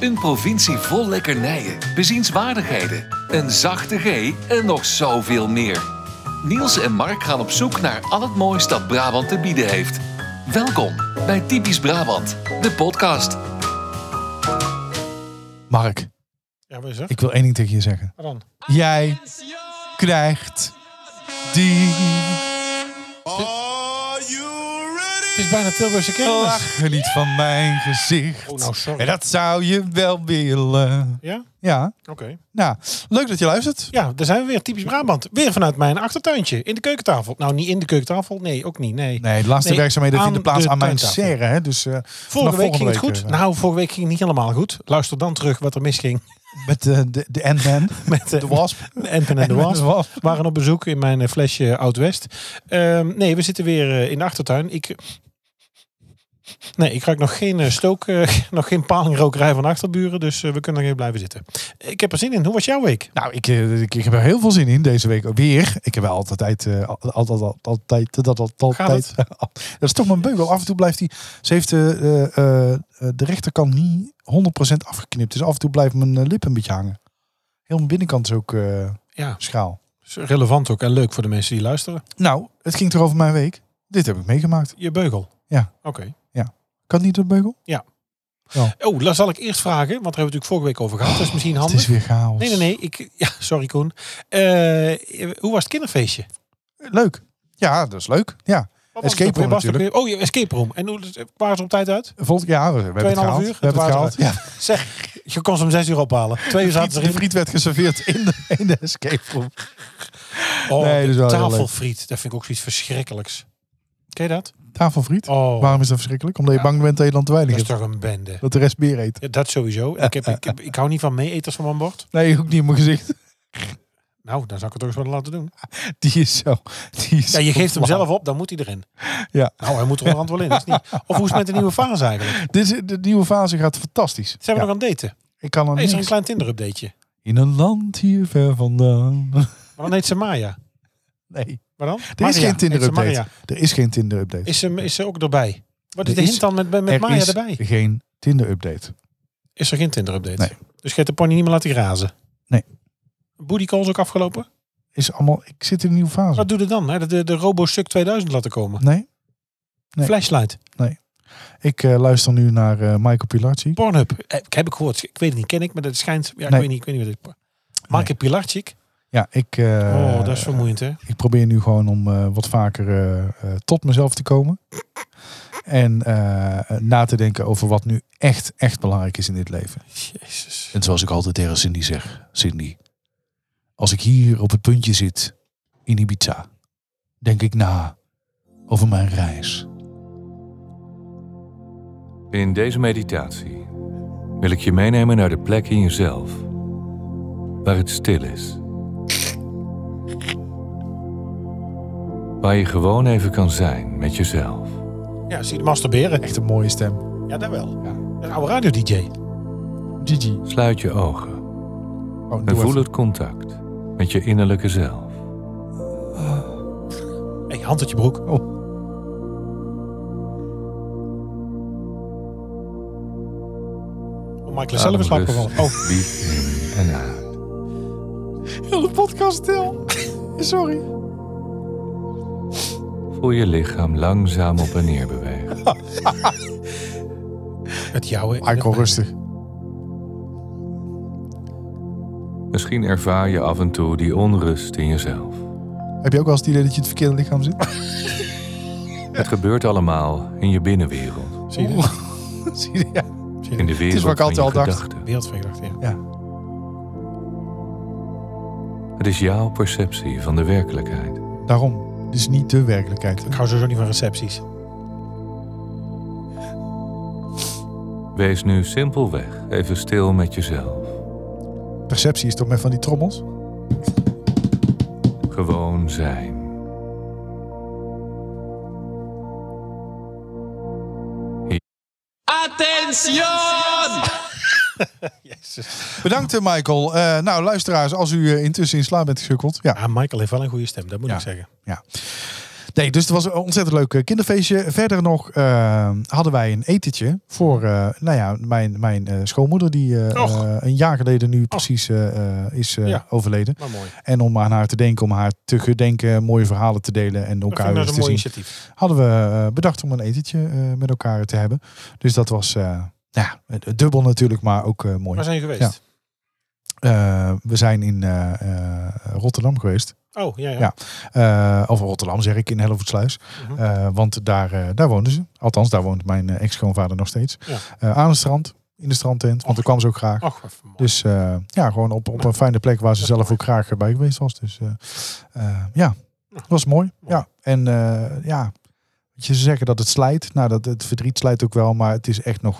Een provincie vol lekkernijen, bezienswaardigheden, een zachte G en nog zoveel meer. Niels en Mark gaan op zoek naar al het moois dat Brabant te bieden heeft. Welkom bij Typisch Brabant, de podcast. Mark, Ja, wat is er? ik wil één ding tegen je zeggen. Wat dan? Jij krijgt die Are you Het ready? is bijna Tilburgse kermis. lachen niet van mijn gezicht. Oh, nou, sorry. En dat zou je wel willen. Ja? Ja, Oké. nou, leuk dat je luistert. Ja, daar zijn we weer. Typisch Brabant. Weer vanuit mijn achtertuintje. In de keukentafel. Nou, niet in de keukentafel. Nee, ook niet. Nee. Nee, de laatste Nee, werkzaamheden vinden aan plaats de aan mijn tuintafel. serre. Hè? Dus, eh, vanaf Vorige week ging het goed. eh, nou, vorige week ging het niet helemaal goed. Luister dan terug wat er misging. met eh, de, de Ant-Man, Met eh, de wasp. Empen en de Ant-Man Wasp. waren op bezoek in mijn eh, flesje Oud-West. Ehm, nee, we zitten weer eh, in de achtertuin. Ik... Nee, ik ruik nog geen eh, stook, eh, nog geen palingrokerij van achterburen. Dus eh, we kunnen nog even blijven zitten. Ik heb er zin in. Hoe was jouw week? Nou, ik, eh, ik, ik heb er heel veel zin in deze week ook weer. Ik heb wel altijd, eh, al- altijd, al- altijd, dat altijd, Gaat het? altijd. Dat is toch mijn beugel. Af en toe blijft hij. Ze heeft eh, eh, eh, de rechterkant niet 100% afgeknipt. Dus af en toe blijft mijn eh, lip een beetje hangen. Heel mijn binnenkant is ook eh, Ja, schaal. is relevant ook en leuk voor de mensen die luisteren. Nou, het ging toch over mijn week. Dit heb ik meegemaakt. Je beugel. Ja. Oké. Kan niet op beugel? Oh, dan zal ik eerst vragen, want daar hebben we natuurlijk vorige week over gehad. dat is misschien handig. Oh, Het is weer chaos. Nee, nee, nee. Ik, ja, sorry Koen. Eh, hoe was het kinderfeestje? Wat Leuk. Ja, dat is leuk. Ja. was Escape het ook weer? room Was het ook weer- Oh, je escape room. En hoe waren ze op tijd uit? Volgend jaar, we hebben het Tweeënhalf gehaald. uur? We hebben het Het gehaald. water. Ja. Zeg, je kon ze om zes uur ophalen. Twee uur zaten ze De erin. friet werd geserveerd in de, in de escape room. Oh, Nee, dat is wel heel leuk. tafelfriet. Dat vind ik ook zoiets verschrikkelijks. Ken je dat? Tafelfriet. Oh, Waarom is dat verschrikkelijk? Omdat je bang bent dat je dan te weinig dat is hebt. toch een bende. Dat de rest bier eet. Ja, dat sowieso. Ik, heb, ik, heb- ik hou niet van meeeters van mijn bord. Nee, ook niet in mijn gezicht. Nou, dan zou ik het toch eens wat laten Ah, doen. Die is zo. Die is Ja, je zo geeft hem flauw. zelf op, dan moet hij erin. Ja. Nou, hij moet er onderhand wel in. dat is niet... Of hoe is het met de nieuwe fase eigenlijk? Dit is, de nieuwe fase gaat fantastisch. Zijn we Ja, nog aan het daten? Ik kan er Hey, is er een niks- klein Tinder-updateje? In een land hier ver vandaan. Maar dan heet ze Maya. Nee. Maar dan? Er is geen Heet ze Tinder-update. Maya. Er is geen Tinder-update. Is ze, is ze ook erbij? Wat is Er de is- hint dan met, met Er Maya is erbij? geen Tinder-update. Is er geen Tinder-update? Nee. Dus je hebt de pony niet meer laten grazen? Nee. Booty calls ook afgelopen? Is allemaal... Ik zit in een nieuwe fase. Wat doe je dan? Hè? De, de, de RoboSuck 2000 laten komen? Nee. Nee. Flashlight? Ik eh, luister nu naar eh, Michael Pilarczyk. Pornhub? Eh, heb ik gehoord. Ik weet het niet. Ken ik, maar dat schijnt... Nee. Ja, ik weet niet. Ik weet niet wat dit... Maak je Pilarchik? Ja, ik... eh, Oh, dat is vermoeiend, hè? Ik probeer nu gewoon om eh, wat vaker eh, eh, tot mezelf te komen. En eh, na te denken over wat nu echt, echt belangrijk is in dit leven. Jezus. En zoals ik altijd tegen Cindy zeg, Cindy. Als ik hier op het puntje zit in Ibiza, denk ik na over mijn reis. In deze meditatie wil ik je meenemen naar de plek in jezelf waar het stil is. Waar je gewoon even kan zijn met jezelf. Ja, zie je masturberen. Echt een mooie stem. Ja, dat wel. Ja. Een oude radio-dj. Gigi. Sluit je ogen Oh, en doe voel even. het contact met je innerlijke zelf. Hey, hand uit je broek. Oh, Michael is zelf in slaap Adem gevallen. Oh, rustig Diep in en uit. Heel de podcast stil. Sorry. Voel je lichaam langzaam op en neer bewegen. met jou. hè? Michael, Ah, rustig. Misschien ervaar je af en toe die onrust in jezelf. Heb je ook wel eens het idee dat je in het verkeerde lichaam zit? Het gebeurt allemaal in je binnenwereld. Zie je dat? Zie je? Ja. Zie In je de is wat wereld ik altijd van je al dacht. gedachten. wereld van gedachten, ja. Het is jouw perceptie van de werkelijkheid. Daarom. Dit is niet de werkelijkheid. Ik hou sowieso niet van recepties. Wees nu simpelweg even stil met jezelf. Perceptie is toch met van die trommels? Gewoon zijn. Bedankt, eh, Michael. Eh, nou, luisteraars, als u eh, intussen in slaap bent gesukkeld. Ja, Ah, Michael heeft wel een goede stem, dat moet Ja. ik zeggen. Nee, dus het was een ontzettend leuk eh, kinderfeestje. Verder nog eh, hadden wij een etentje voor eh, nou ja, mijn, mijn eh, schoonmoeder, die eh, Och. eh, een jaar geleden nu precies eh, eh, is eh, Ja. overleden. Maar mooi. En om aan haar te denken, om haar te gedenken, mooie verhalen te delen en Dat vind ik elkaar nou weer zo'n te mooi zien, initiatief. hadden we eh, bedacht om een etentje eh, met elkaar te hebben. Dus dat was eh, nou ja, dubbel natuurlijk, maar ook eh, mooi. Waar zijn je geweest? Ja. Eh, we zijn in eh, eh, Rotterdam geweest. Oh, ja, ja. Ja. Eh, of Rotterdam zeg ik, in Hellevoetsluis. Mhm. Eh, want daar, eh, daar woonden ze. Althans, daar woont mijn eh, ex-schoonvader nog steeds. Ja. Eh, aan het strand, in de strandtent. Want daar kwam ze ook graag. Och, wat mooi. Dus eh, ja, gewoon op, op een fijne plek waar ze Dat is zelf mooi. Nou, ook graag eh, bij geweest was. Dus eh, eh, ja, het was mooi. Mooi. Ja, en eh, ja, weet je, ze zeggen dat het slijt. Nou, dat, het verdriet slijt ook wel, maar het is echt nog...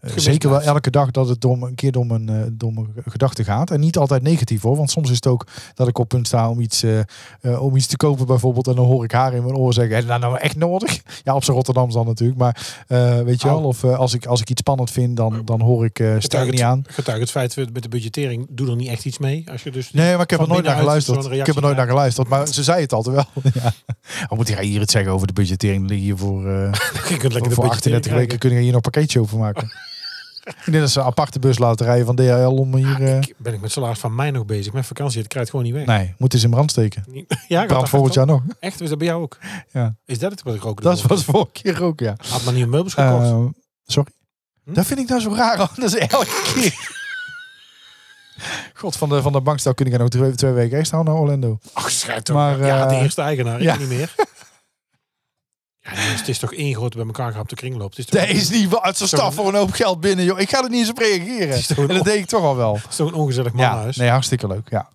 eh, Gemist zeker wel blijft. elke dag dat het om, een keer door mijn, eh, door mijn ge- gedachten gaat. En niet altijd negatief hoor, want soms is het ook dat ik op punt sta om iets, eh, eh, om iets te kopen bijvoorbeeld. En dan hoor ik haar in mijn oor zeggen, heb je dat nou echt nodig? Ja, op zijn Rotterdams dan natuurlijk. Maar eh, weet je Au. wel, of eh, als, ik, als ik iets spannend vind, dan, dan hoor ik, eh sta ik niet aan. Getuige het feit, met de budgettering, doe er niet echt iets mee. Als je dus... Nee, maar ik heb Van er nooit naar binnenuit geluisterd. zo'n Ik reactie heb er nooit naar krijgt. geluisterd, maar ze zei het altijd wel. Ja. Dan moet hij hier iets zeggen over de budgettering? Dan liggen hier voor, eh, je kunt lekker de voor budgettering 38 weken krijgen. kun je hier nog een pakketje over maken. ik denk dat ze een aparte bus laten rijden van DHL om hier... eh, Ik- Ben ik met salaris van mij nog bezig? Mijn vakantie, het krijgt gewoon niet weg. nee, moeten ze in brand steken. Niet- Ja, gaat Brand dat volgend hard jaar nog. op? Echt, is dat bij jou ook? Ja. Is dat het wat ik ook Dat was vorige keer ook, ja. Had maar nieuwe meubels gekocht. Eh, sorry? Hm? Dat vind ik nou zo raar. hoor. Dat is elke keer. God, van de, van de bankstel kun ik er nog twee, twee weken extra naar Orlando. Ach, schijt toch. maar, ja, de eh, eerste eigenaar, ja. ik niet meer. Ja, jongens, het is toch één grote bij elkaar gehad op de kringloop. Het is toch, Dat is niet waar. Het is een Zo'n- staf voor een hoop geld binnen, joh. Ik ga er niet eens op reageren. is toch een En dat deed ik toch al wel. het is toch een ongezellig Ja, mannenhuis. nee, hartstikke leuk, ja.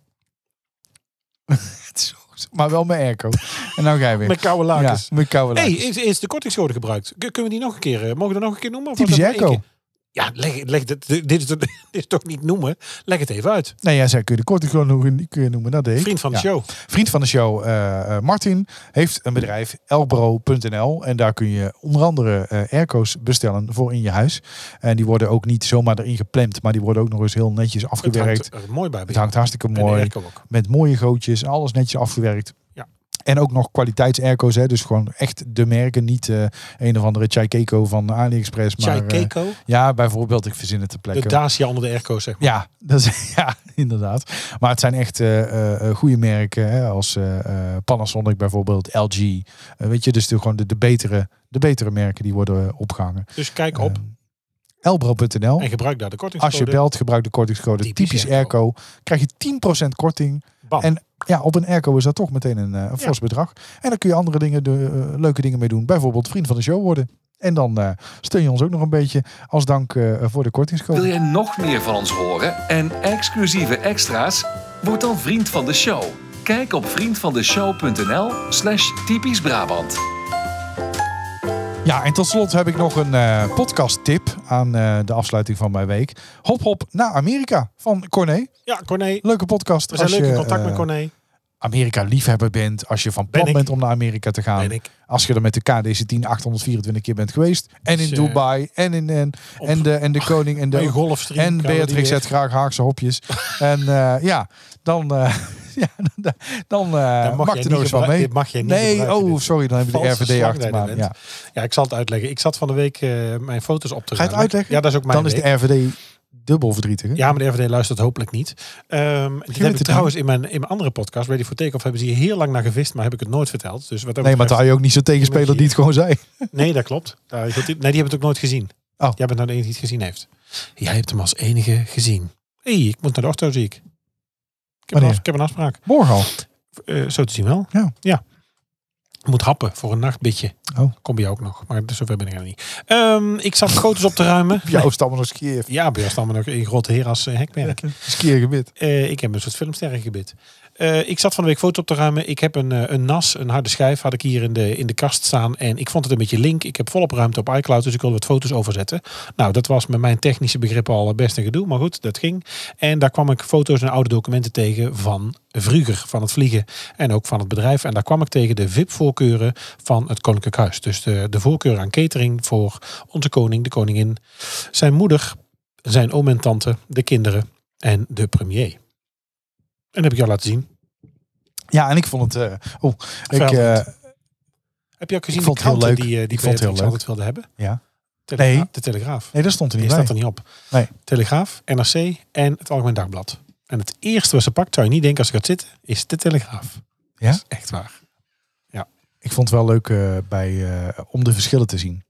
Het is zo- maar wel met airco. En nou ga je weer. Met koude ja, lakens. met koude Hé, hey, lakens. is, is de kortingscode gebruikt? K- Kunnen we die nog een keer, eh, mogen we dat nog een keer noemen? Of Typisch was dat maar één airco. keer? Ja, leg, leg dit, dit, is, toch- dit is toch niet noemen? Leg het even uit. Nee, jij zei, kun je de korting gewoon noemen, kun je noemen. Dat deed ik. Vriend van de Ja. show. Vriend van de show, eh, eh, Martin, heeft een bedrijf, elbro.nl. En daar kun je onder andere eh airco's bestellen voor in je huis. En die worden ook niet zomaar erin geplemd, maar die worden ook nog eens heel netjes Het afgewerkt. hangt er mooi bij. bij Het hangt hartstikke jou. En de mooi. airco ook. Met mooie gootjes, alles netjes afgewerkt. Ja. En ook nog kwaliteitsairco's, hè? dus gewoon echt de merken. Niet eh, een of andere Chai Keiko van AliExpress. Maar, Chai eh, Keiko, ja, bijvoorbeeld, ik verzin het te de plekken. Dacia onder de airco, zeg maar. Ja, dat is, ja, inderdaad. Maar het zijn echt eh, eh, eh, goede merken, hè, als eh, eh, Panasonic bijvoorbeeld, LG. Eh, weet je, dus de, gewoon de, de, betere, de betere merken die worden eh, opgehangen. Dus kijk op Eh, Elbro.nl. en gebruik daar de Eh, Als je kortingscode. belt, gebruik de kortingscode typisch, Typisch airco. airco. Krijg je 10% korting. Bam. En ja, op een airco is dat toch meteen een, eh, een Ja. fors bedrag. En dan kun je andere dingen, de, eh, leuke dingen mee doen. Bijvoorbeeld vriend van de show worden. En dan eh, steun je ons ook nog een beetje als dank eh, voor de kortingscode. Wil jij nog meer van ons horen en exclusieve extra's? Word dan vriend van de show. Kijk op vriendvandeshow.nl slash typisch Brabant. Ja, en tot slot heb ik nog een eh podcast tip aan eh, de afsluiting van mijn week. Hop Hop naar Amerika van Corné. Ja, Corné. Leuke podcast. We zijn als leuk in je, contact eh, met Corné. Amerika liefhebber bent. Als je van Ben plan ik. bent om naar Amerika te gaan. Ben ik. Als je er met de KDC-10 824 keer bent geweest. En in Dus, eh, Dubai. En, in, en, op- en, de, en de koning. En, Bij de, Golfstream. en gaan we die Beatrix weer- zet graag Haagse hopjes. en eh, ja, dan... eh, ja, dan, dan eh, Dat mag, er jij niet nog eens van gebruiken. mee. Dit mag je niet Nee, gebruiken, oh dit. sorry, dan heb je de Valse RVD slag achter bij me. de Ja. wind. Ja, ik zal het uitleggen. Ik zat van de week eh, mijn foto's op Ga je te het ruimen. uitleggen? Ja, dat is ook mijn Dan is week. de RVD dubbel verdrietig. hè? Ja, maar de RVD luistert hopelijk niet. Ehm dit het heb ik dan. trouwens in mijn, in mijn andere podcast, Ready for Takeoff, hebben ze hier heel lang naar gevist, maar heb ik het nooit verteld. Dus wat nee, maar dat betreft- daar had je ook niet zo'n tegenspeler die het gewoon zei. Nee, dat klopt. Daar, nee, die hebben het ook nooit gezien. Oh. Jij bent nou de enige die het gezien heeft. Jij hebt hem als enige gezien. Hé, hey, ik moet naar de auto, zie ik. Ik heb, een, Wanneer? afs- ik heb een afspraak. Morgen al. Eh, zo te zien wel. Ja. ja. Moet happen voor een nachtbitje. Oh. Kom bij jou ook nog, maar zover ben ik er niet. Ehm, ik zat foto's op te ruimen. Jouw nee. stammen nog skier. Ja, bij ons dan maar nog een grote heer als eh, hekmerk. Skiergebit. Eh, ik heb een soort filmsterrengebit. Eh, ik zat van de week foto's op te ruimen. Ik heb een, eh, een NAS, een harde schijf, had ik hier in de, in de kast staan. En ik vond het een beetje link. Ik heb volop ruimte op iCloud, dus ik wilde wat foto's overzetten. Nou, dat was met mijn technische begrippen al best een gedoe. Maar goed, dat ging. En daar kwam ik foto's en oude documenten tegen van Vruger, van het vliegen. En ook van het bedrijf. En daar kwam ik tegen de VIP-voorkeuren van het Koninklijk Huis. Dus de, de voorkeur aan catering voor onze koning, de koningin, zijn moeder, zijn oom en tante, de kinderen en de premier. En dat heb ik jou laten zien. Ja, en ik vond het... eh, oh, ik, Vervelend. eh, Heb je ook gezien Ik vond de het heel kranten leuk. die, eh, die Ik vond het heel Beatrix leuk. altijd wilde hebben? Ja. Telegraaf, Nee. De Telegraaf. Nee, dat stond er Die niet staat bij. er niet op. Nee. Telegraaf, NRC en het Algemeen Dagblad. En het eerste wat ze pakt, zou je niet denken als ik gaat zitten, is de Telegraaf. Ja? Dat is echt waar. Ik vond het wel leuk eh, bij, eh, om de verschillen te zien.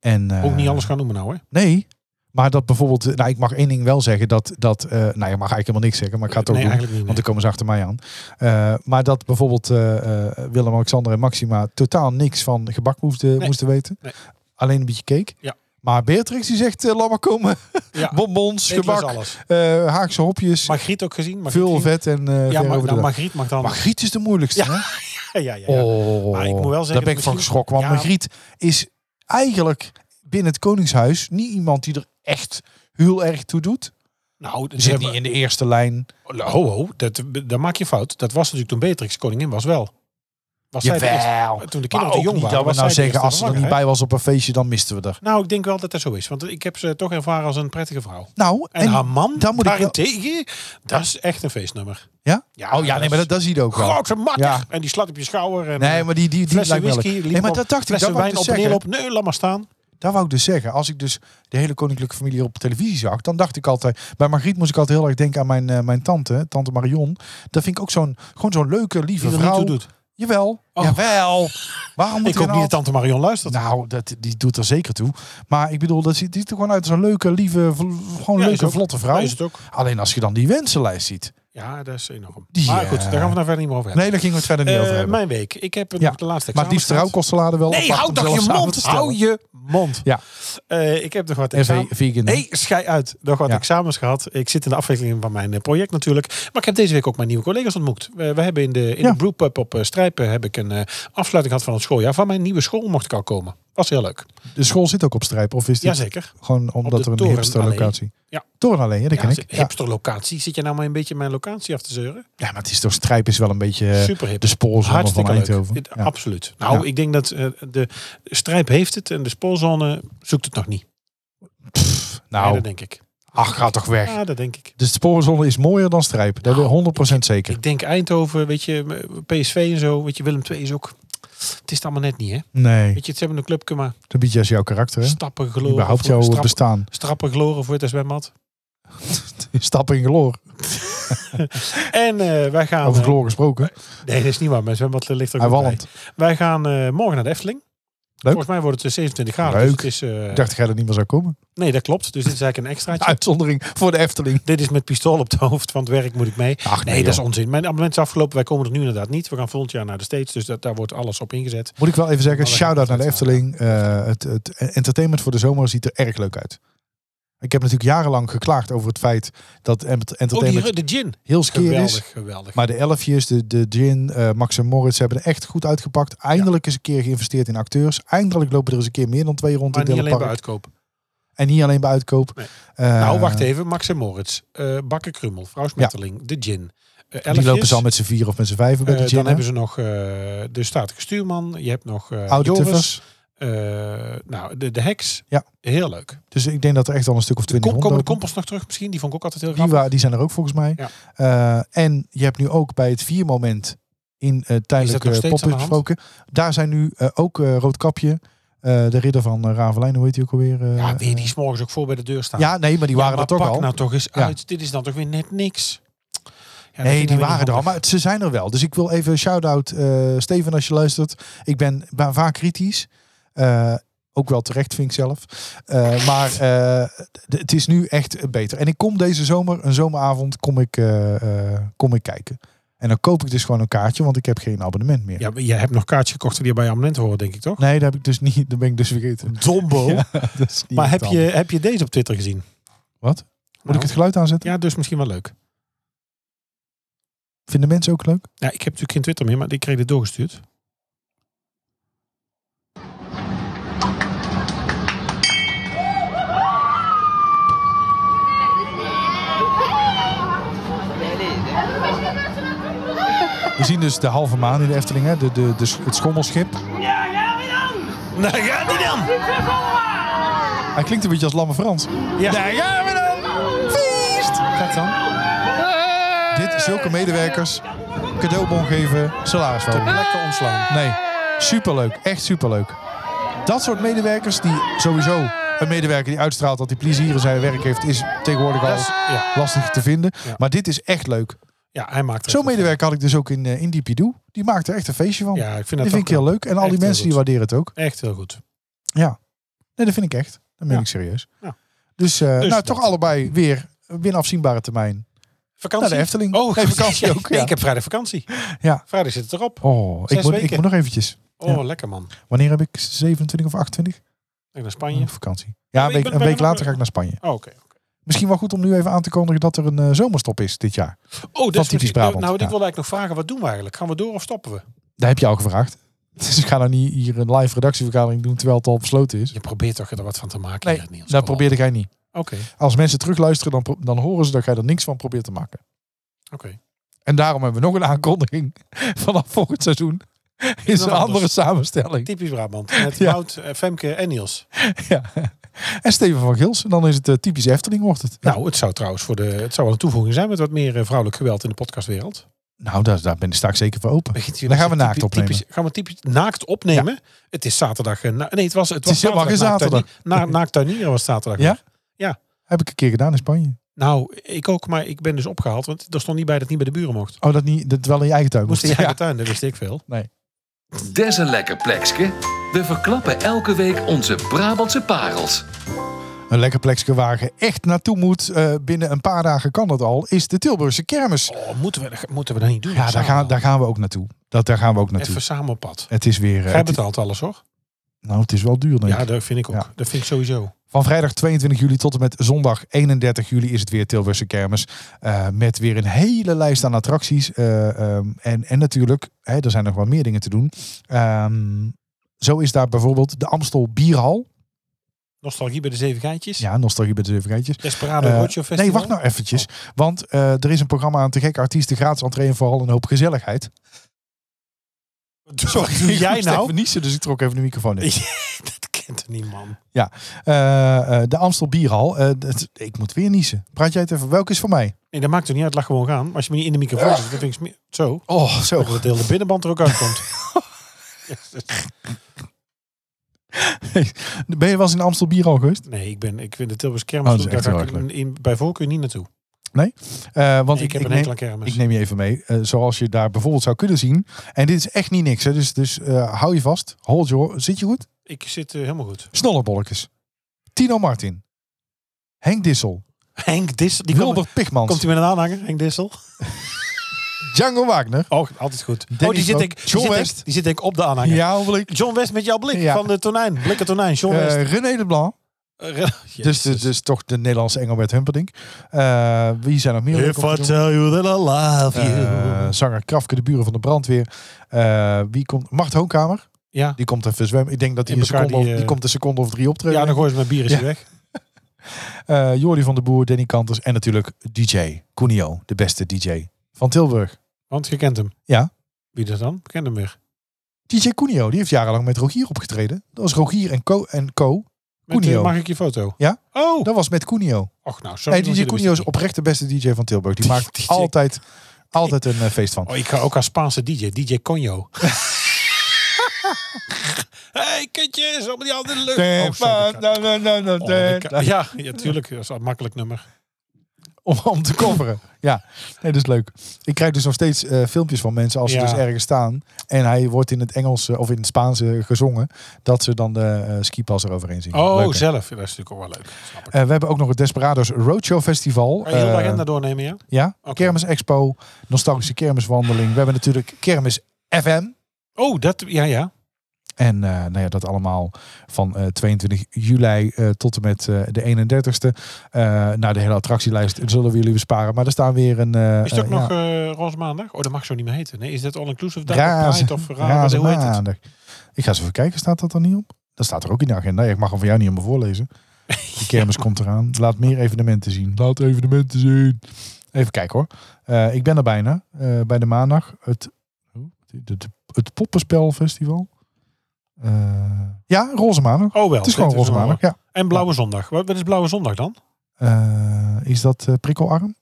En, eh, Ook niet alles gaan noemen nou, hè? Nee. Maar dat bijvoorbeeld, nou ik mag één ding wel zeggen, dat, dat eh, nou je mag eigenlijk helemaal niks zeggen, maar ik ga het ook nee, doen. eigenlijk niet. Want dan komen ze achter mij aan. Eh, maar dat bijvoorbeeld eh, eh, Willem-Alexander en Maxima totaal niks van gebak moesten, Nee. moesten weten. Nee. Alleen een beetje cake. Ja. Maar Beatrix die zegt, eh, laat maar komen. nee. ja, Bonbons, ik las gebak, alles. eh, Haagse hopjes, Margriet ook gezien. Margriet veel gezien. vet en eh Ja, ver over de maar, nou, dag. Margriet mag dan. Margriet is de moeilijkste, Ja. hè? Ja, ja, ja. Oh, Maar ik moet wel zeggen daar dat ben ik van misschien- geschrokken. Want Ja. Margriet is eigenlijk binnen het Koningshuis niet iemand die er echt heel erg toe doet. Nou, ze Zit hebben- niet in de eerste lijn. Ho, ho, dat, dat maak je fout. Dat was natuurlijk toen Beatrix koningin was wel. Was zij de Jawel. eerste- toen Maar de kinderen te ook jong niet waren. dat we was nou zij de zeggen, als eerste ze er niet zwanger, bij was op een feestje, dan misten we er. hè? Nou, ik denk wel dat dat zo is. Want ik heb ze toch ervaren als een prettige vrouw. Nou, En, haar man, dan moet ik wel- daarentegen, dat is echt een feestnummer. Ja? Oh ja, nee, maar dat, dat zie je ook wel. Grote makker! Ja. En die slaat op je schouder. En, Nee, maar die, die, die flessen lijkt wel. whisky. leuk. liep Nee, maar op, dat dacht ik. Dat flessen wou ik, wijn dus op en neer zeggen. op. Nee, laat maar staan. dat wou ik dus zeggen. Als ik dus de hele koninklijke familie op televisie zag, dan dacht ik altijd... Bij Margriet moest ik altijd heel erg denken aan mijn, eh, mijn tante, tante Marion. Dat vind ik ook zo'n, gewoon zo'n leuke, lieve Die er niet vrouw. toe doet. Jawel, Oh. jawel. Waarom moet Ik hoop er niet nou dat tante Marion luistert. Nou, dat, die doet er zeker toe. Maar ik bedoel, dat ziet, die ziet er gewoon uit als een leuke, lieve, vl- gewoon Ja, is leuke, ook. vlotte vrouw. Ja, is het ook. Alleen als je dan die wensenlijst ziet. Ja, dat is enorm. Die, Maar eh, goed, daar gaan we nou verder niet meer over hebben. Nee, daar gingen we het verder niet over Eh, hebben. mijn week. Ik heb nog Ja, de laatste maar die examens gehad. trouwkostelade wel Nee, apart hou om toch zelf je samen mond. te stellen. Hou je mond. Ja. Eh, ik heb nog wat En examens. ve- vegan. hè? Nee, schei uit. Nog wat Ja. examens gehad. Ik zit in de afwikkeling van mijn eh, project natuurlijk. Maar ik heb deze week ook mijn nieuwe collega's ontmoet. We, we hebben in de, in Ja. de brewpub op eh, Strijpen heb ik een eh, afsluiting gehad van het schooljaar. Van mijn nieuwe school mocht ik al komen. Was heel leuk. De school zit ook op strijp, of is dit Jazeker. gewoon Op omdat de we een Torenallee. hipster locatie? Ja. Toren alleen, ja, dat Ja, ken ik. Ja. hipster locatie. Zit je nou maar een beetje mijn locatie af te zeuren? ja, maar het is toch strijp is wel een beetje eh, Super hip. de spoorzone van Hartstikke leuk. Eindhoven. Dit- Ja. Absoluut. Nou, Ja. ik denk dat eh, de strijp heeft het en de spoorzone zoekt het nog niet. Ja, Nou, dat denk ik. ach, ga toch weg. Ja, dat denk ik. De spoorzone is mooier dan strijp. Dat Nou, wil 100% zeker. Ik denk Eindhoven, weet je, PSV en zo, weet je, Willem II is ook. Het is het allemaal net niet, hè? Nee, Weet je, ze hebben een clubje, maar dat biedt juist jouw karakter. Hè? stappen geloren. Überhaupt voor- jouw strap- bestaan. strappen geloren voor het zwembad. Stap in geloor. En eh, wij gaan. Over eh, gloor gesproken. nee, dat is niet waar. Mijn zwembad eh, ligt er Hij ook bij. walmt. Wij gaan eh, morgen naar de Efteling. Volgens mij wordt het eh, 27 graden. Leuk. Dus het is, eh, Ik dacht dat jij er niet meer zou komen. nee, dat klopt. Dus dit is eigenlijk een extraatje. Nou. Uitzondering voor de Efteling. Dit is met pistool op het hoofd, want werk moet ik mee. Ach Nee, dat is onzin. Mijn abonnement is afgelopen. Wij komen er nu inderdaad niet. We gaan volgend jaar naar de States. Dus dat, daar wordt alles op ingezet. Moet ik wel even zeggen, Maar Oh, we shout-out naar gaan de het uitzenden. Efteling. Eh, het, het entertainment voor de zomer ziet er erg leuk uit. Ik heb natuurlijk jarenlang geklaagd over het feit dat em- het Oh, die, entertainment ru- de gin. heel skeer is. Geweldig, geweldig. Maar de elfjes, de, de Gin, eh, Max en Moritz hebben er echt goed uitgepakt. Eindelijk eens een keer geïnvesteerd in acteurs. Eindelijk lopen er eens een keer meer dan twee rond Maar in niet het alleen bij park. uitkoop. En niet alleen bij uitkoop. Nee. Eh, nou, wacht even. Max en Moritz, eh Bakker Krummel, Vrouw Smetteling, De Gin. Die eh Elfjes. lopen ze al met z'n vier of met z'n vijven bij Eh, de gin. dan hè? hebben ze nog eh, de statige stuurman. Je hebt nog eh Oude Joris. tuffers. Eh, nou, de, de heks. Ja. Heel leuk. Dus ik denk dat er echt al een stuk of twintig Kom, komen de rondlopen. kompels nog terug misschien? Die vond ik ook altijd heel Die, grappig. wa- die zijn er ook volgens mij. Ja. Eh, en je hebt nu ook bij het viermoment in eh tijdelijk nog eh, steeds pop-up aan de hand? gesproken. Daar zijn nu eh, ook eh, Roodkapje, eh, de ridder van eh, Ravelijn, hoe heet die ook alweer? eh, ja, weer die s'morgens ook voor bij de deur staan. ja, nee, maar die Ja, waren maar er toch pak al. nou toch eens Ja. uit. Dit is dan toch weer net niks. Ja, dat vind Nee, ik die nou weer waren er niet al, handig. maar het- ze zijn er wel. Dus ik wil even een shout-out, eh, Steven, als je luistert. Ik ben, ben vaak kritisch. Eh, ook wel terecht, vind ik zelf. Eh, maar eh, d- het is nu echt beter. En ik kom deze zomer, een zomeravond, kom ik, eh, eh, kom ik kijken. En dan koop ik dus gewoon een kaartje, want ik heb geen abonnement meer. Ja, maar jij hebt nog kaartjes gekocht die je bij je abonnement horen, denk ik toch? Nee, dat heb ik dus niet. Dat ben ik dus vergeten. Dombo. Ja, dat is niet maar heb je, handig. heb je deze op Twitter gezien? Wat? Nou. Moet ik het geluid aanzetten? Ja, dus misschien wel leuk. Vinden mensen ook leuk? Ja, ik heb natuurlijk geen Twitter meer, maar ik kreeg dit doorgestuurd. We zien dus de halve maan in de Efteling, hè? De, de, de, sch- het schommelschip. Ja, gaan we dan! Nou, gaat die dan! Die terug omlaag! Hij klinkt een beetje als Lamme Frans. Ja, gaan we dan! Feest! Gaat dan. Dit, zulke medewerkers, cadeaubon geven, salaris wel. Lekker ontslaan. Nee. Superleuk, echt superleuk. Dat soort medewerkers die sowieso een medewerker die uitstraalt dat hij plezier in zijn werk heeft, is tegenwoordig al Dat is- ja. lastig te vinden. Ja. Maar dit is echt leuk. Ja, hij maakt er Zo'n echt wat medewerker had ik dus ook in, eh, in Diepidou. Die maakt er echt een feestje van. van. Ja, ik vind die dat vind ik ook heel leuk. En al Echt die heel mensen die goed. waarderen het ook. Echt heel goed. Nee, dat vind ik echt. Dat meen Ja. ik serieus. Ja. Dus, eh, nou, dat. toch allebei weer binnen afzienbare termijn Vakantie? naar de Efteling. Oh, nee, vakantie ook. Nee, Ja. ik heb vrijdag vakantie. Ja. Vrijdag zit het erop. Oh, ik Zes moet, ik weken. moet nog eventjes. Oh, Ja. lekker man. Wanneer heb ik 27 of 28? Ik naar Oh, Spanje. vakantie. Ja, Ja, een maar je week, bent een week bijna- later ga ik naar Spanje. Oh, oké. Misschien wel goed om nu even aan te kondigen dat er een eh, zomerstop is dit jaar. Oh, dat is Van misschien- typisch Brabant, Nou, ik ja. wilde eigenlijk nog vragen, wat doen we eigenlijk? Gaan we door of stoppen we? Daar heb je al gevraagd. Dus ik ga nou niet hier een live redactievergadering doen terwijl het al besloten is. Je probeert toch er wat van te maken Nee, hier, Niels. Dat Kom op. probeerde jij niet. Oké, Als mensen terugluisteren, dan, pro- dan horen ze dat jij er niks van probeert te maken. oké. En daarom hebben we nog een aankondiging. Vanaf volgend seizoen is een anders. andere samenstelling. Typisch Brabant. Met Ja. Wout, eh, Femke en Niels. Ja. En Steven van Gils. En dan is het eh, typisch Efteling wordt het. Nou, het zou trouwens voor de, het zou wel een toevoeging zijn met wat meer eh, vrouwelijk geweld in de podcastwereld. nou daar, daar ben, sta ik zeker voor open. Begint jullie Dan gaan we typisch- naakt opnemen. typisch- gaan we typisch naakt opnemen? Het is zaterdag. eh, na- nee, het was, het was is helemaal geen Naakt, tuinier- na, naakt tuinieren was zaterdag. Ja? Heb ik een keer gedaan in Spanje. Nou, ik ook, maar ik ben dus opgehaald, want er stond niet bij dat het niet bij de buren mocht. Oh, dat niet. Dat wel in je eigen tuin. Moest in je moest. eigen Ja. tuin, dat wist ik veel. Des een lekker plekske. We verklappen elke week onze Brabantse parels. Een lekker plekje waar je echt naartoe moet. eh, binnen een paar dagen kan dat al. Is de Tilburgse kermis. Oh, moeten we, moeten we dat niet doen? Ja, daar Samen gaan, dan. daar gaan we ook naartoe. Dat, daar gaan we ook naartoe. Even samen op pad. Het is weer. eh, Jij het- betaalt alles, hoor. nou, het is wel duur. Denk ik. Ja, dat vind ik ook. Ja. Dat vind ik sowieso. Van vrijdag 22 juli tot en met zondag 31 juli is het weer Tilburgse Kermis. Eh, met weer een hele lijst aan attracties. Eh, ehm, en, en natuurlijk, hè, er zijn nog wel meer dingen te doen. Ehm, zo is daar bijvoorbeeld de Amstel Bierhal. Nostalgie bij de Zeven Geitjes. Ja, nostalgie bij de Zevengeitjes. Desperado Eh, Roadshow Festival. Nee, wacht nou eventjes. Want eh, er is een programma aan te gek artiesten, gratis entree en vooral een hoop gezelligheid. Sorry, doe ik jij moest nou? Even niezen, dus ik trok even de microfoon in. Dat kent er niet, man. Eh, eh, de Amstel Bierhal. eh, dat- ik moet weer niezen. Praat jij het even? Welke is voor mij? Nee, dat maakt toch niet uit. Laat gewoon gaan. Maar als je me niet in de microfoon zit, dan vind ik smeer- Zo. Oh, zo. Dat de hele binnenband er ook uitkomt. Ben je wel eens in Amstel Bierhal geweest? Nee, ik, ben, ik vind de Tilburgse Oh, kermis... dat is daar echt ga heel ik erg leuk. in, bij voorkeur niet naartoe. Eh, want Nee, ik, ik, heb ik, een hekel neem, aan kermis. ik neem je even mee. Eh, zoals je daar bijvoorbeeld zou kunnen zien. En dit is echt niet niks. Hè? Dus, dus eh, hou je vast. Hold your... Zit je goed? Ik zit eh, helemaal goed. Snollebolletjes. Tino Martin. Henk Dissel. Henk Dissel. Die komt, Wilbert Pigmans. komt hij met een aanhanger, Henk Dissel? Django Wagner. Oh, altijd goed. oh, die Dennis zit, Ro- ik, die, John zit ik- West. die zit ik op de aanhanger. Ja, hoewel ik. John West met jouw blik Ja. van de tonijn. Blikken tonijn, John Eh, West. René Leblanc. Eh, re- Dus, Jezus. dus, dus toch de Nederlandse Engelbert Humperdinck. Eh, wie zijn er meer? leuk If om te I doen? tell you that I love you. Eh, zanger Krafke, de buren van de brandweer. Eh, wie komt? Mart Hoonkamer. ja. Die komt even zwemmen. Ik denk dat die, In een elkaar seconde, die, of- eh, die komt een seconde of drie optreden. ja, dan gooi ze mijn bier is Ja. hij weg. Eh, Jordi van de Boer, Danny Kanters en natuurlijk DJ Cunio, de beste DJ van Tilburg. Want je kent hem. Ja. Wie dat dan? Ik ken hem weer. DJ Cunio, die heeft jarenlang met Rogier opgetreden. Dat was Rogier en Co. En Co. Met, Cuneo. eh, mag ik je foto? Ja. Oh. Dat was met Cunio. Och, nou, sorry. Nee, DJ want jullie Cunio is wisten het oprecht de beste DJ van Tilburg. Die maakt DJ. altijd, altijd een eh, feest van. niet. Oh, ik ga ook als Spaanse DJ. DJ Conjo. hey, kindjes. Op die andere lucht. Oh, sorry, ik ga- nou, Oh, ik ga- ja, ja, tuurlijk. Dat is een makkelijk nummer. om, om te coveren. Ja, nee, dat is leuk. Ik krijg dus nog steeds eh, filmpjes van mensen als ze Ja. dus ergens staan. En hij wordt in het Engels eh, of in het Spaanse gezongen. Dat ze dan de eh, skipas eroverheen zien. Oh, Leuk, hè? zelf. Dat is natuurlijk ook wel leuk. Snap ik. Eh, we hebben ook nog het Desperados Roadshow Festival. Ga je heel de Eh, agenda doornemen, ja? ja, Oké. Kermis Expo, nostalgische kermiswandeling. We hebben natuurlijk Kermis FM. Oh, dat... Ja, ja. En eh, nou ja, dat allemaal van eh, 22 juli eh, tot en met eh, de 31ste. Eh nou, de hele attractielijst zullen we jullie besparen. Maar er staan weer een... eh, Is het ook eh, nog ja, eh Roze Maandag? Oh, dat mag zo niet meer heten. Nee, is dat All Inclusive Dag Razen- of Pride of Raar? razen Hoe heet het? maandag. Ik ga eens even kijken, staat dat er niet op? Dat staat er ook in de agenda. Ja, ik mag hem van jou niet helemaal voorlezen. De kermis komt eraan. Laat meer evenementen zien. Laat evenementen zien. Even kijken hoor. Eh, ik ben er bijna. Eh, bij de maandag. Het, het, het, het Poppenspelfestival. Eh, ja, Roze Maandag. Oh, wel. Het is dit gewoon Roze wel Maandag, waar. ja. En Blauwe Zondag. Wat wat is Blauwe Zondag dan? Eh, is dat eh, prikkelarm?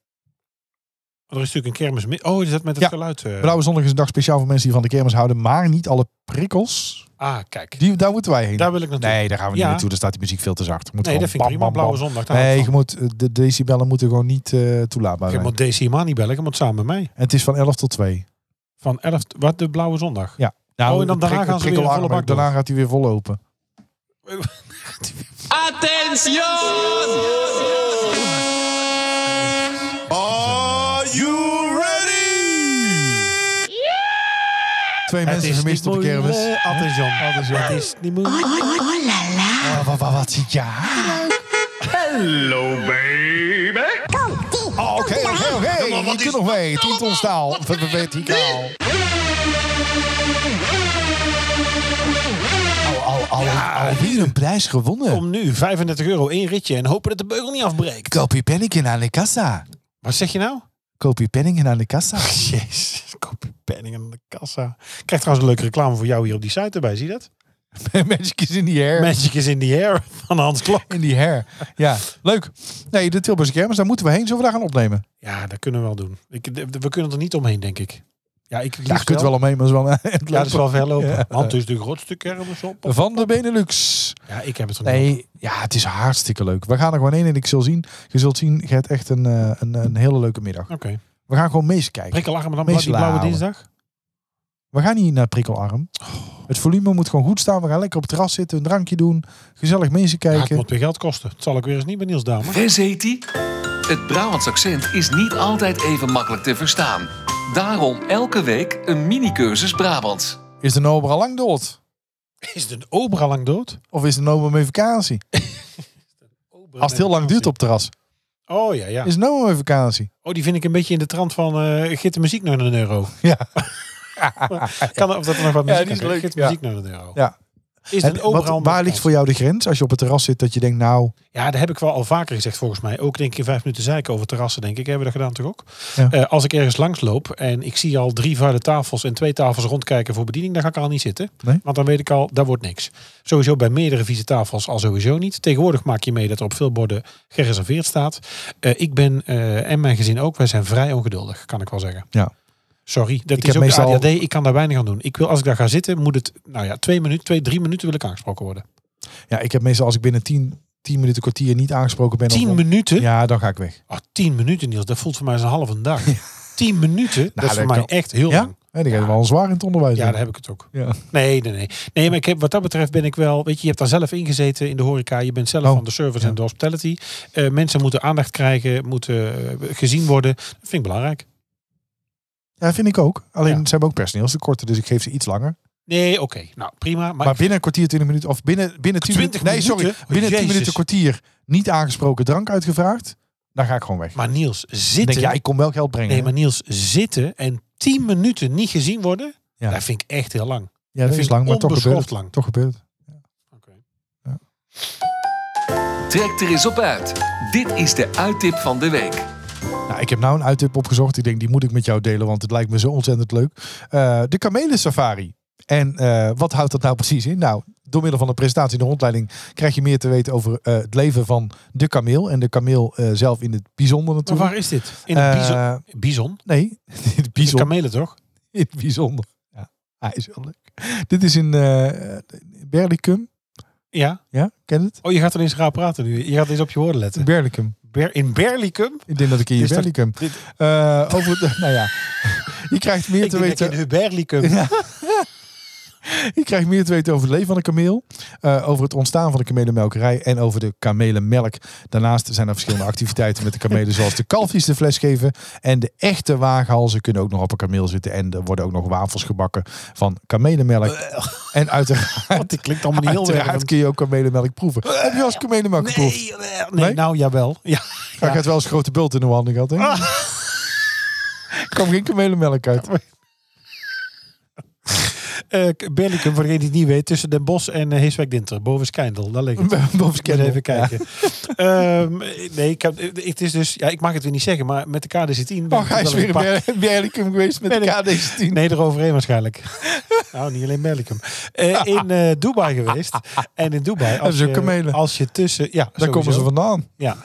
Er is natuurlijk een kermis. mi- Oh, is dat met het Ja. geluid? eh? Blauwe Zondag is een dag speciaal voor mensen die van de kermis houden. Maar niet alle prikkels. Ah, kijk. Die, daar moeten wij heen. Daar wil ik naartoe. nee, daar gaan we niet Ja. naartoe. Daar staat die muziek veel te zacht. Moet Nee, dat vind ik prima. Blauwe zondag. daar hou Nee, ik je moet, eh, de decibellen moeten gewoon niet eh, toelaatbaar van. Je zijn. moet DC Mani bellen. Je moet samen met mij. En het is van 11 tot 2. Van 11. Wat de blauwe zondag? Ja. Oh, en dan daarna gaan ze weer Nou, prikkelarm, volle bak door. Daarna gaat hij weer vol open. Twee mensen vermist op de kermis. Attention. Het is niet moeilijk. Ah, Wat, wat, wat ziet je haar? Hello, baby. Oh, Oké, oké, oké. Je kunt nog mee. nou Tienton staal. Verticaal. Au, au, au. Alweer een prijs gewonnen. Om nu 35 euro, één ritje en hopen dat de beugel niet afbreekt. Koop je penningen aan de kassa. Wat zeg je nou? Koop je penningen aan de kassa. Jezus, kopje penning aan de kassa. Ik krijg trouwens een leuke reclame voor jou hier op die site erbij, zie je dat? Magic is in die hair. Magic is in the air van Hans Klok. In die hair. Ja, leuk. Nee, de Tilburgse kermis, dus daar moeten we heen. Zullen we daar gaan opnemen? Ja, dat kunnen we wel doen. Ik, d- d- we kunnen er niet omheen, denk ik. Ja, ik Ja, je kunt wel omheen, maar is wel... Ja, dat is wel ver lopen. Want het is de grootste kermis op. Van de Benelux. Ja, ik heb het er niet. Nee, ja, het is hartstikke leuk. We gaan er gewoon heen en ik zal zien. Je zult zien, je hebt echt een, eh, een, een hele leuke middag. Oké. Okay. We gaan gewoon meest kijken. Prikkelarm en dan Meestal die blauwe halen. dinsdag. We gaan niet naar prikkelarm. Het volume moet gewoon goed staan. We gaan lekker op het terras zitten, een drankje doen. Gezellig mensen Ja, het kijken. moet weer geld kosten. Het zal ik weer eens niet bij Niels Damer. Wes heet die? Het Brabants accent is niet altijd even makkelijk te verstaan. Daarom elke week een mini-cursus Brabants. Is de Nober al lang dood? Is de ober al lang dood? Of is de Nober mee vakantie? Als het heel lang duurt op het terras. Oh ja, ja. Is de Nober mee vakantie? Oh, die vind ik een beetje in de trant van eh giet de muziek naar een euro. Ja. Kan er, of dat er nog wat muziek die is aan kan. leuk, Giet de ja. muziek naar een euro. Ja. Is Heb- het een wat, ober waar ligt voor jou de grens? Als je op het terras zit dat je denkt, nou... Ja, dat heb ik wel al vaker gezegd volgens mij. Ook denk ik in vijf minuten zeiken over terrassen, denk ik. Hebben we dat gedaan toch ook? Ja. Eh, als ik ergens langs loop en ik zie al drie vuile tafels en twee tafels rondkijken voor bediening, dan ga ik er al niet zitten. Nee. Want dan weet ik al, daar wordt niks. Sowieso bij meerdere vieze tafels al sowieso niet. Tegenwoordig maak je mee dat er op veel borden gereserveerd staat. Eh, ik ben, eh, en mijn gezin ook, wij zijn vrij ongeduldig, kan ik wel zeggen. Ja. Sorry, dat Ik is heb ook meestal- de ADHD. Ik kan daar weinig aan doen. Ik wil, als ik daar ga zitten, moet het, nou ja, twee minuten, twee, drie minuten wil ik aangesproken worden. Ja, ik heb meestal als ik binnen tien, tien minuten kwartier niet aangesproken ben... of- Tien minuten? Ja, dan ga ik weg. Ah, 10 minuten, Niels, dat voelt voor mij als een halve dag. 10 minuten, dat is Nou, dat voor mij kan- echt heel Ja? lang. Nee, die gaat wel zwaar in het onderwijs. Ja, doen. daar heb ik het ook. Ja. Nee, nee, nee. Nee, maar ik heb, wat dat betreft ben ik wel... Weet je, je hebt daar zelf ingezeten in de horeca. Je bent zelf Oh, van de service ja. en de hospitality. Eh, mensen moeten aandacht krijgen, moeten eh, gezien worden. Dat vind ik belangrijk. Ja, vind ik ook. Alleen Ja. ze hebben ook personeelstekorten, dus ik geef ze iets langer. Nee, oké. Nou, prima. Maar, Maar, binnen een kwartier, 20 minuten, of binnen, binnen 10 20 minuten. Nee, sorry. minuten? Binnen 10 Jezus. minuten, kwartier niet aangesproken drank uitgevraagd. Dan ga ik gewoon weg. maar Niels, ik zitten... denk, ja, ik kom wel geld brengen. eh, nee, hè? maar Niels, zitten en 10 minuten niet gezien worden... Ja. Dat vind ik echt heel lang. ja, dat vind is ik lang, maar toch gebeurt onbeschoft het. lang. Toch gebeurt het. Trek er eens op uit. Dit is de uittip van de week. Nou, ik heb nou een uittip opgezocht. Ik denk, die moet ik met jou delen, want het lijkt me zo ontzettend leuk. Eh, de kamelen safari. En eh, wat houdt dat nou precies in? Nou, door middel van een presentatie in de rondleiding krijg je meer te weten over eh, het leven van de kameel. En de kameel eh, zelf in het bijzonder Maar natuurlijk. waar is dit? In het bizon? Eh, Bizon? Nee, in het Bizon. bijzonder. Kamelen, toch? In het bijzonder. Ja, hij is wel leuk. Dit is in eh Berlicum. Ja. Ja, ken je het? Oh, je gaat ineens raar praten nu. Je gaat eens op je woorden letten. Berlicum. Ber- in Berlicum? Ik denk dat ik in Is dat- Berlicum. dit- Eh, over de, nou ja, je krijgt meer Ik te denk dat je weten. in Berlicum. Ja. Je krijgt meer te weten over het leven van de kameel, eh, over het ontstaan van de kamelenmelkerij en over de kamelenmelk. Daarnaast zijn er verschillende activiteiten met de kamelen, zoals de kalfjes de fles geven. En de echte waaghalzen kunnen ook nog op een kameel zitten. En er worden ook nog wafels gebakken van kamelenmelk. En uiteraard, Dat Oh, klinkt allemaal niet heel erg. uiteraard kun je ook kamelenmelk proeven. Heb je wel eens kamelenmelk geproefd? Nee, nee, Nee? nou jawel. Ja, Ja, Ah. Ik had wel eens grote bult in de handen gehad. Hè? Er kwam geen kamelenmelk uit. Eh, K- Berlicum, voor degene die het niet weet, tussen Den Bosch en eh, Heeswijk-Dinter, boven Skijndel. Daar ligt het. Boven Moet Scandal. Even kijken. Ehm, nee, ik, heb, het is dus, ja, ik mag het weer niet zeggen, maar met de KDC-10... ben Oh, ik hij wel is een weer in paar- Ber- Berlicum geweest met de KD10. Nee, eroverheen waarschijnlijk. nou, niet alleen Berlicum. Eh, in eh, Dubai geweest. En in Dubai, als is ook je, kamelen. als je tussen... Ja, Daar sowieso. komen ze vandaan. Ja.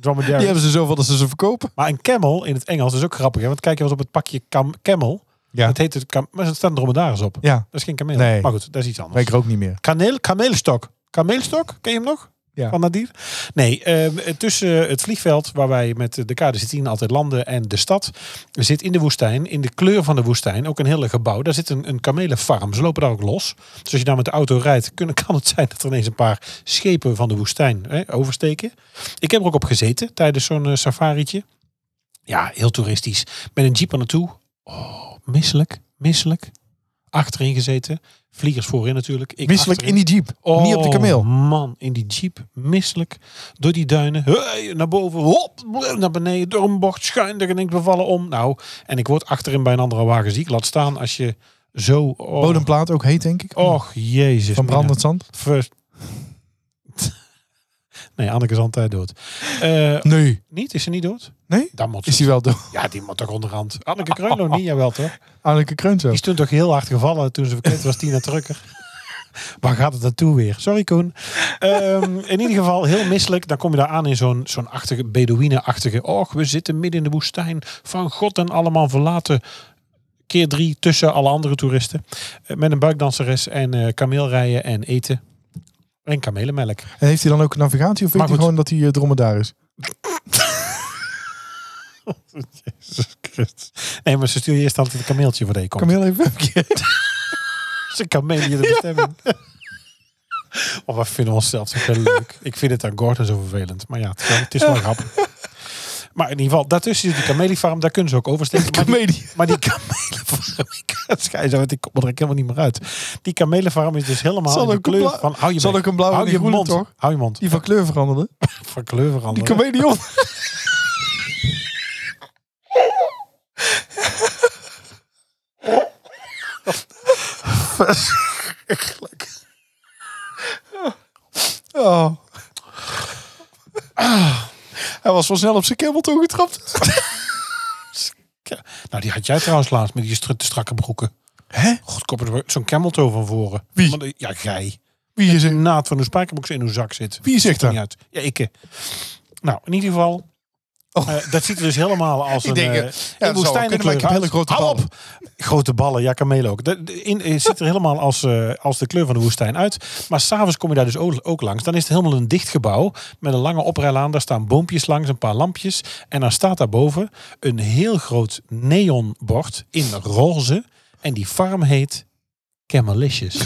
dromedary. Die hebben ze zoveel dat ze ze verkopen. Maar een camel in het Engels is ook grappig. Hè? Want kijk je wat op het pakje cam- camel. Ja. Het heet het cam- maar er staan dromedaris op. Ja, Dat is geen kameel. Nee. Maar goed, dat is iets anders. weet ik er ook niet meer. Kaneel, kameelstok. Kameelstok, ken je hem nog? Ja. Van Nadir? Nee, ehm, tussen het vliegveld waar wij met de KDC-10 altijd landen en de stad zit in de woestijn, in de kleur van de woestijn, ook een hele gebouw. Daar zit een, een kamelenfarm. Ze lopen daar ook los. Dus als je daar met de auto rijdt, kunnen, kan het zijn dat er ineens een paar schepen van de woestijn hè, oversteken. Ik heb er ook op gezeten tijdens zo'n eh, safarietje. Ja, heel toeristisch. Met een jeep er naartoe. Oh, misselijk, misselijk. Achterin gezeten. Vliegers voorin natuurlijk. Ik Misselijk achterin. in die jeep. Niet op de kameel. Oh, Man, in die jeep, misselijk. Door die duinen, hey, naar boven, hop, naar beneden, door een bocht, schuin, en ik bevallen om. Nou, en ik word achterin bij een andere wagen ziek. Laat staan als je zo... oh, Bodemplaat ook heet, denk ik. Och, jezus. Van mina. brandend zand. Ver... Nee, Anneke is altijd dood. Eh, Nee. niet? Is ze niet dood? Nee? Dan moet ze- Is die wel door Ja, die moet toch onderhand. Anneke Kreunlo niet, jawel toch? Anneke Kreunzo? Die is toen toch heel hard gevallen toen ze verkend was, Tina Trucker. Waar gaat het naartoe weer? Sorry Koen. Ehm, in ieder geval heel misselijk. Dan kom je daar aan in zo'n zo'n achtige, Bedouine-achtige. Och, we zitten midden in de woestijn. Van God en allemaal verlaten. Keer drie tussen alle andere toeristen. Eh, met een buikdanseres en eh kameelrijden en eten. En kamelenmelk. En heeft hij dan ook navigatie of weet Maar hij goed. gewoon dat hij eh, dromedaris? Jezus Christus. Nee, maar ze stuur je eerst altijd een kameeltje voor de komt. Kameel even een keer. Ze kan mee in de bestemming. Oh, we vinden onszelf zo heel leuk. Ik vind het aan Gordon zo vervelend. Maar ja, het is wel- het is wel grappig. Maar in ieder geval, daartussen zit die kamelenfarm. Daar kunnen ze ook oversteken. Maar die, Comedie. maar die kamelenfarm... Ik ga het schijzen, want ik kom er ook helemaal niet meer uit. Die kamelenfarm is dus helemaal Zal in de ook een kleur blau- van... Hou je zal bek. ook een blauwe hou en een je groene, mond. toch? Hou je mond. Die van kleur veranderde. Van kleur Die veranderen. comedian. Oh. Hij was vanzelf op zijn camel toe getrapt. Nou, die had jij trouwens laatst met die str- strakke broeken. Hè? Goedkoper, zo'n cameltoe van voren. Wie? Maar de- Ja, jij. Wie is er? Een naad van een spijkerbox in uw zak zit. Wie zegt dat? niet uit. Ja, ik. eh. Nou, in ieder geval. Oh. eh, dat ziet er dus helemaal als Ik een denk, eh, ja, dat zou wel kunnen, maar ik heb uit. hele grote Hou ballen. op! Grote ballen, ja, kamelen ook. De, de- in, eh, ziet er helemaal als, eh, als de kleur van de woestijn uit. Maar s'avonds kom je daar dus ook, ook langs. Dan is het helemaal een dicht gebouw met een lange oprijlaan. Daar staan boompjes langs, een paar lampjes. En dan staat daarboven een heel groot neonbord in roze. En die farm heet Camelicious.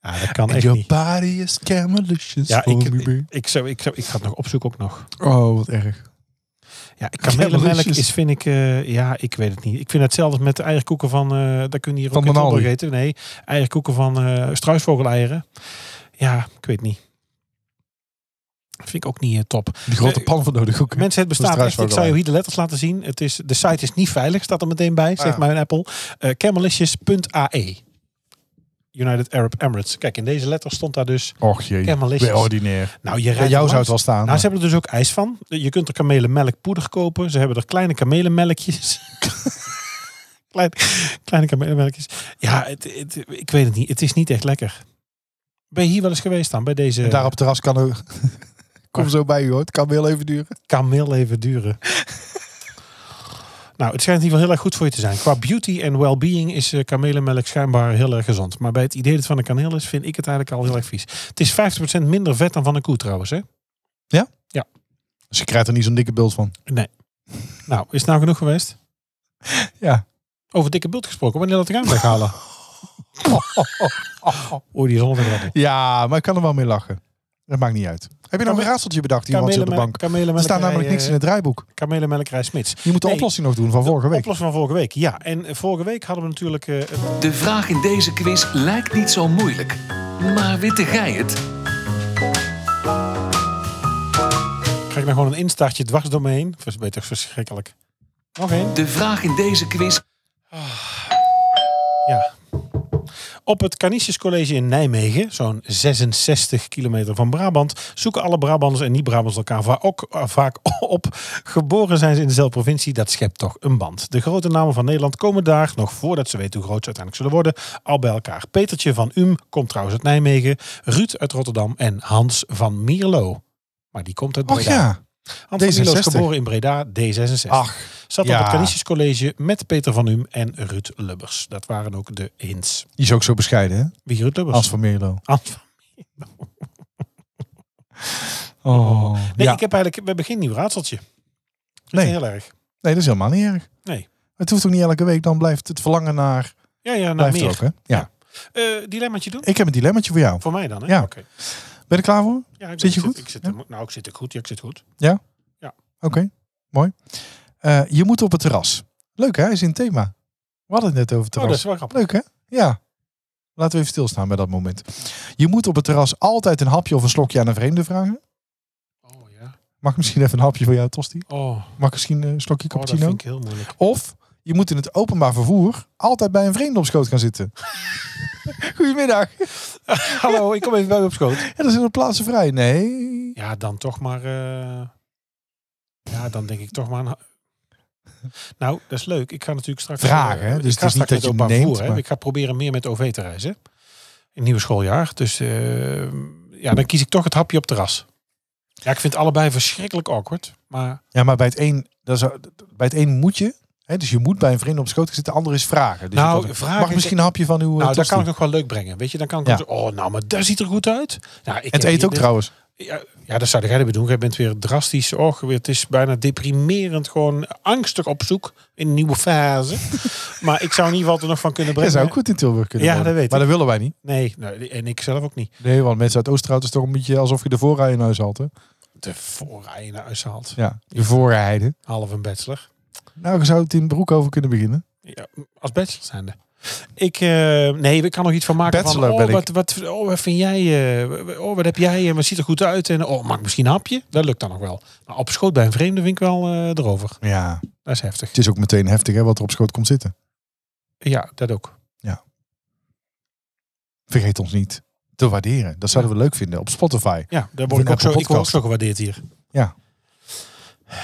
ja, dat kan echt Your niet. body is camelicious Ja, ik, for me, ik, baby. ik, zou, ik, zou, ik ga het nog opzoeken ook nog. Oh, wat erg. Ja, kamelenmelk Delicious. is vind ik... eh, ja, ik weet het niet. Ik vind hetzelfde met de eierkoeken van... eh daar kun je hier Van ook geen Manali. Tilburg eten. Nee, eierkoeken van eh struisvogeleieren. Ja, ik weet niet. Vind ik ook niet eh, top. Die grote Eh, pan voor nodig ook. hè? Mensen, het bestaat echt. Ik zou je struisvogeleieren. hier de letters laten zien. Het is, de site is niet veilig, staat er meteen bij. Zegt mijn Apple. Eh camelicious.ae E. United Arab Emirates. Kijk, in deze letter stond daar dus... Och jee, Camelicious. weer ordinair. Nou, je Bij rijdt jou er zou het wel staan. nou, ze maar- hebben er dus ook ijs van. Je kunt er kamelenmelkpoeder kopen. Ze hebben er kleine kamelenmelkjes. Klein, kleine kamelenmelkjes. Ja, het, het- ik weet het niet. Het is niet echt lekker. Ben je hier wel eens geweest dan? Bij deze En daar op het terras kan ook... Ah. Kom zo bij u hoor, het kan wel even duren. kameel even duren? nou, het schijnt in ieder geval heel erg goed voor je te zijn. Qua beauty en well-being is eh, kamelenmelk schijnbaar heel erg gezond. Maar bij het idee dat het van een kaneel is, vind ik het eigenlijk al heel erg vies. Het is 50% minder vet dan van een koe trouwens, hè? Dus je krijgt er niet zo'n dikke beeld van. Nou, is het nou genoeg geweest? Ja. Over dikke bult gesproken. Wanneer laat ik hem weghalen? Oeh, die is ondergrappig. Ja, maar ik kan er wel mee lachen. Dat maakt niet uit. Heb je nog een raadseltje bedacht, iemand hier op de bank? Er staat namelijk niks in het draaiboek. Kamelenmelkerij Smits. Je moet de eh, Nee. oplossing nog doen van vorige week. Oplossing van vorige week, ja. En eh, vorige week hadden we natuurlijk... eh, het- De vraag in deze quiz lijkt niet zo moeilijk. Maar witte gij het? krijg ik nou gewoon een instartje dwars door me heen? Dat is beter verschrikkelijk. Nog één. De vraag in deze quiz Ja. Op het Canisiuscollege in Nijmegen, zo'n 66 kilometer van Brabant, zoeken alle Brabanders en niet-Brabanders elkaar va- ook, eh, vaak op. Geboren zijn ze in dezelfde provincie, dat schept toch een band. De grote namen van Nederland komen daar, nog voordat ze weten hoe groot ze uiteindelijk zullen worden, al bij elkaar. Umm Petertje van Um komt trouwens uit Nijmegen, Ruud uit Rotterdam en Hans van Mierlo. Maar die komt uit Och Breda. ja. Hans van Milo is D66. geboren in Breda, D66. Ach, Zat ja. op het Canisiuscollege met Peter van Hum en Ruud Lubbers. Dat waren ook de hints. die is ook zo bescheiden, hè? Wie Ruud Lubbers? Hans van Mierlo. Hans van- Oh, Nee, ja. ik heb eigenlijk, we hebben geen nieuw raadseltje. Dat Nee. is heel erg. nee, dat is helemaal niet erg. Nee. Het hoeft ook niet elke week, dan blijft het verlangen naar... Ja, ja, nou blijft er meer. ook, hè? Ja. Ja. Eh, dilemmaatje doen? Ik heb een dilemmaatje voor jou. Voor mij dan, hè? Ja. Oké. Ben je er klaar voor? Ja, ik Zit je ik goed? Ik zit, Ja. er- Nou, ik zit ook goed. Ja, ik zit goed. Oké, mooi. Eh, je moet op het terras. Leuk, hè? Is in het thema. We hadden het net over het Oh, dat terras. is wel grappig. Leuk, hè? Ja. Laten we even stilstaan bij dat moment. Je moet op het terras altijd een hapje of een slokje aan een vreemde vragen. Oh, ja. Mag ik misschien even een hapje voor jou, Tosti? Oh, oh, Mag ik misschien eh, een slokje dat cappuccino? vind ik heel moeilijk. Of je moet in het openbaar vervoer altijd bij een vreemde op schoot gaan zitten. Goedemiddag. Hallo, ik kom even bij me op schoot. Ja, er zijn er plaatsen vrij. Nee. Ja, dan toch maar... eh, Ja, dan denk ik toch maar... aan- Nou, dat is leuk. Ik ga natuurlijk straks... Vragen, hè? Dus eh, ik het is ga niet dat straks met je openbaar neemt, vervoer, hè. maar- Ik ga proberen meer met OV te reizen. In het nieuwe schooljaar. Dus eh, ja, dan kies ik toch het hapje op terras. Ja, ik vind het allebei verschrikkelijk awkward. Maar Ja, maar bij het een, dat zou- bij het een moet je. Hè, dus je moet bij een vreemde op schoot gaan zitten. De andere is vragen. Dus Nou, je kan- vragen- mag ik misschien een hapje van uw eh, nou, dat tosti? kan ik nog wel leuk brengen. Weet je, dan kan ik Ja. ook zo- Oh, nou, maar dat ziet er goed uit. Nou, ik En het heb eten hier ook dit- trouwens. Ja, ja, dat zou jij hebben doen. Jij bent weer drastisch. Och, weer- het is bijna deprimerend. Gewoon angstig op zoek in een nieuwe fase. maar ik zou in ieder geval er nog van kunnen Dat brengen. zou ook goed in Tilburg kunnen Ja, wonen. dat weet Maar dat willen wij niet. Nee, nee, en ik zelf ook niet. Nee, want mensen uit Oosterhout is toch een beetje alsof je de voorrij in huis had. Hè? De voorrijen naar huis haalt. Ja, de voorrijden. Half een bachelor. Nou, je zou het in broek over kunnen beginnen. Ja, als bachelor zijnde. Ik, eh, nee, ik kan nog iets van maken. Bachelor van, oh, ben ik. wat, wat, oh, wat vind jij? eh, oh, wat heb jij? En wat ziet er goed uit? En oh, maak misschien een hapje. Dat lukt dan nog wel. Maar op schoot bij een vreemde vind ik wel eh, erover. Ja. Dat is heftig. Het is ook meteen heftig hè, wat er op schoot komt zitten. Ja, dat ook. Vergeet ons niet te waarderen. Dat zouden we leuk vinden op Spotify. Ja, daar Of word een ik ook zo, Apple ik word ook Podcast. zo gewaardeerd hier.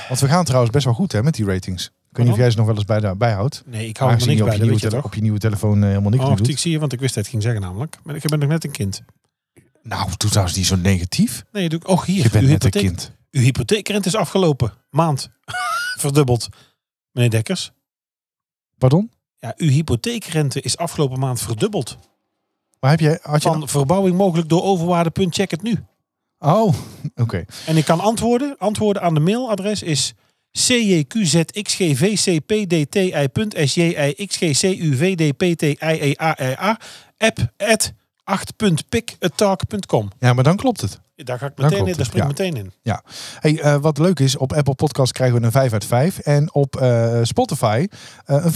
Want we gaan trouwens best wel goed hè, met die ratings. Ik weet niet of jij ze nog wel eens bij, bijhoudt. Nee, ik hou er Aangezien niks je op bij, je, nieuwe dat weet je tele- toch? op je nieuwe telefoon eh, helemaal niks Oh, meer zie- doet. ik zie je, want ik wist dat het ging zeggen namelijk. Maar ik ben nog net een kind. Nou, doe trouwens niet zo negatief. Nee, doe ik. Oh, hier. Je bent uw net een hypotheek, kind. Uw hypotheekrente is afgelopen. Maand. Verdubbeld. Meneer Dekkers. Pardon? Ja, uw hypotheekrente is afgelopen maand verdubbeld. Maar heb jij... Had je nou- Van verbouwing mogelijk door overwaarde. Check het nu. Oh, oké. En ik kan antwoorden. Antwoorden aan de mailadres is e cjqzxgvcpdti.sjixgcuvdptiea app at 8.pickattalk.com. Ja, maar dan klopt het. Daar ga ik Dan meteen klopt in, daar het, spring ik ja. Ja. meteen in. Hey, eh, wat leuk is, op Apple Podcast krijgen we een 5 uit 5. En op eh, Spotify eh, een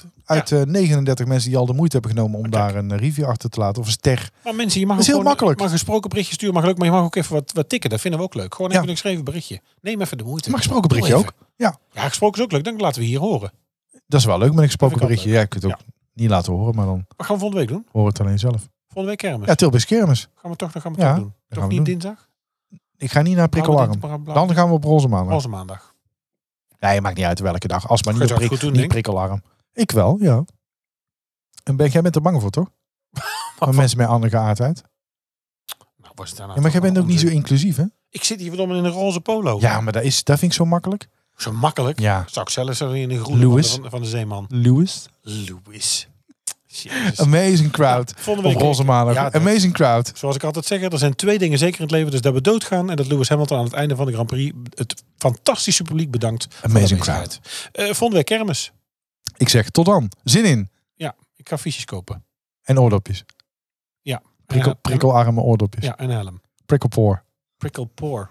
4,8 uit eh, 39 mensen die al de moeite hebben genomen om daar een eh, review achter te laten. Of een ster. Maar mensen, je mag Dat is heel ook gewoon- makkelijk. Maar gesproken berichtje sturen mag leuk, maar je mag ook even wat, wat tikken. Dat vinden we ook leuk. Gewoon Ja. even een geschreven berichtje. Neem even de moeite. Maar gesproken berichtje Doe ook. even. Ja, Ja, gesproken is ook leuk. Dan laten we hier horen. dat is wel leuk met een gesproken Vind ik berichtje. altijd Ja, je kunt het ook niet laten horen, maar dan Wat gaan we volgende week doen? hoor het alleen zelf. Volgende week kermis. Ja, Tilburg Kermis. Gaan we toch, dan gaan we Ja, toch doen. we Toch niet doen. dinsdag? Ik ga Nou, niet naar Prikkelarm. Dan gaan we op Roze Maandag. Als maandag. Nee, maakt niet uit welke dag. Als maar Kun niet, je op dat prik, goed doen, niet denk ik? Prikkelarm. Ik wel, ja. En ben jij bent er bang voor, toch? Maar mensen met andere geaardheid. Nou, was het daarna Ja, maar jij toch bent ook niet zo onzin. inclusief, hè? Ik zit hier verdomme in een roze polo. Ja, maar dat, is, dat vind ik zo makkelijk. Zo makkelijk. Ja. Zou ik zelfs zo in een groene Louis. Van, de, van de zeeman. Lewis. Louis. Jezus. Amazing crowd. Volgende Op week. roze maandag. Ja, dat- Amazing crowd. Zoals ik altijd zeg, er zijn twee dingen zeker in het leven. Dus dat we doodgaan en dat Lewis Hamilton aan het einde van de Grand Prix het fantastische publiek bedankt. voor de Amazing aanwezigheid. Eh volgende week kermis. Ik zeg tot dan. Zin in. Ja, ik ga fiches kopen. En oordopjes. Ja. Prikkel, En- prikkelarme oordopjes. Ja, en helm. Prikkelpoor. Prickle poor.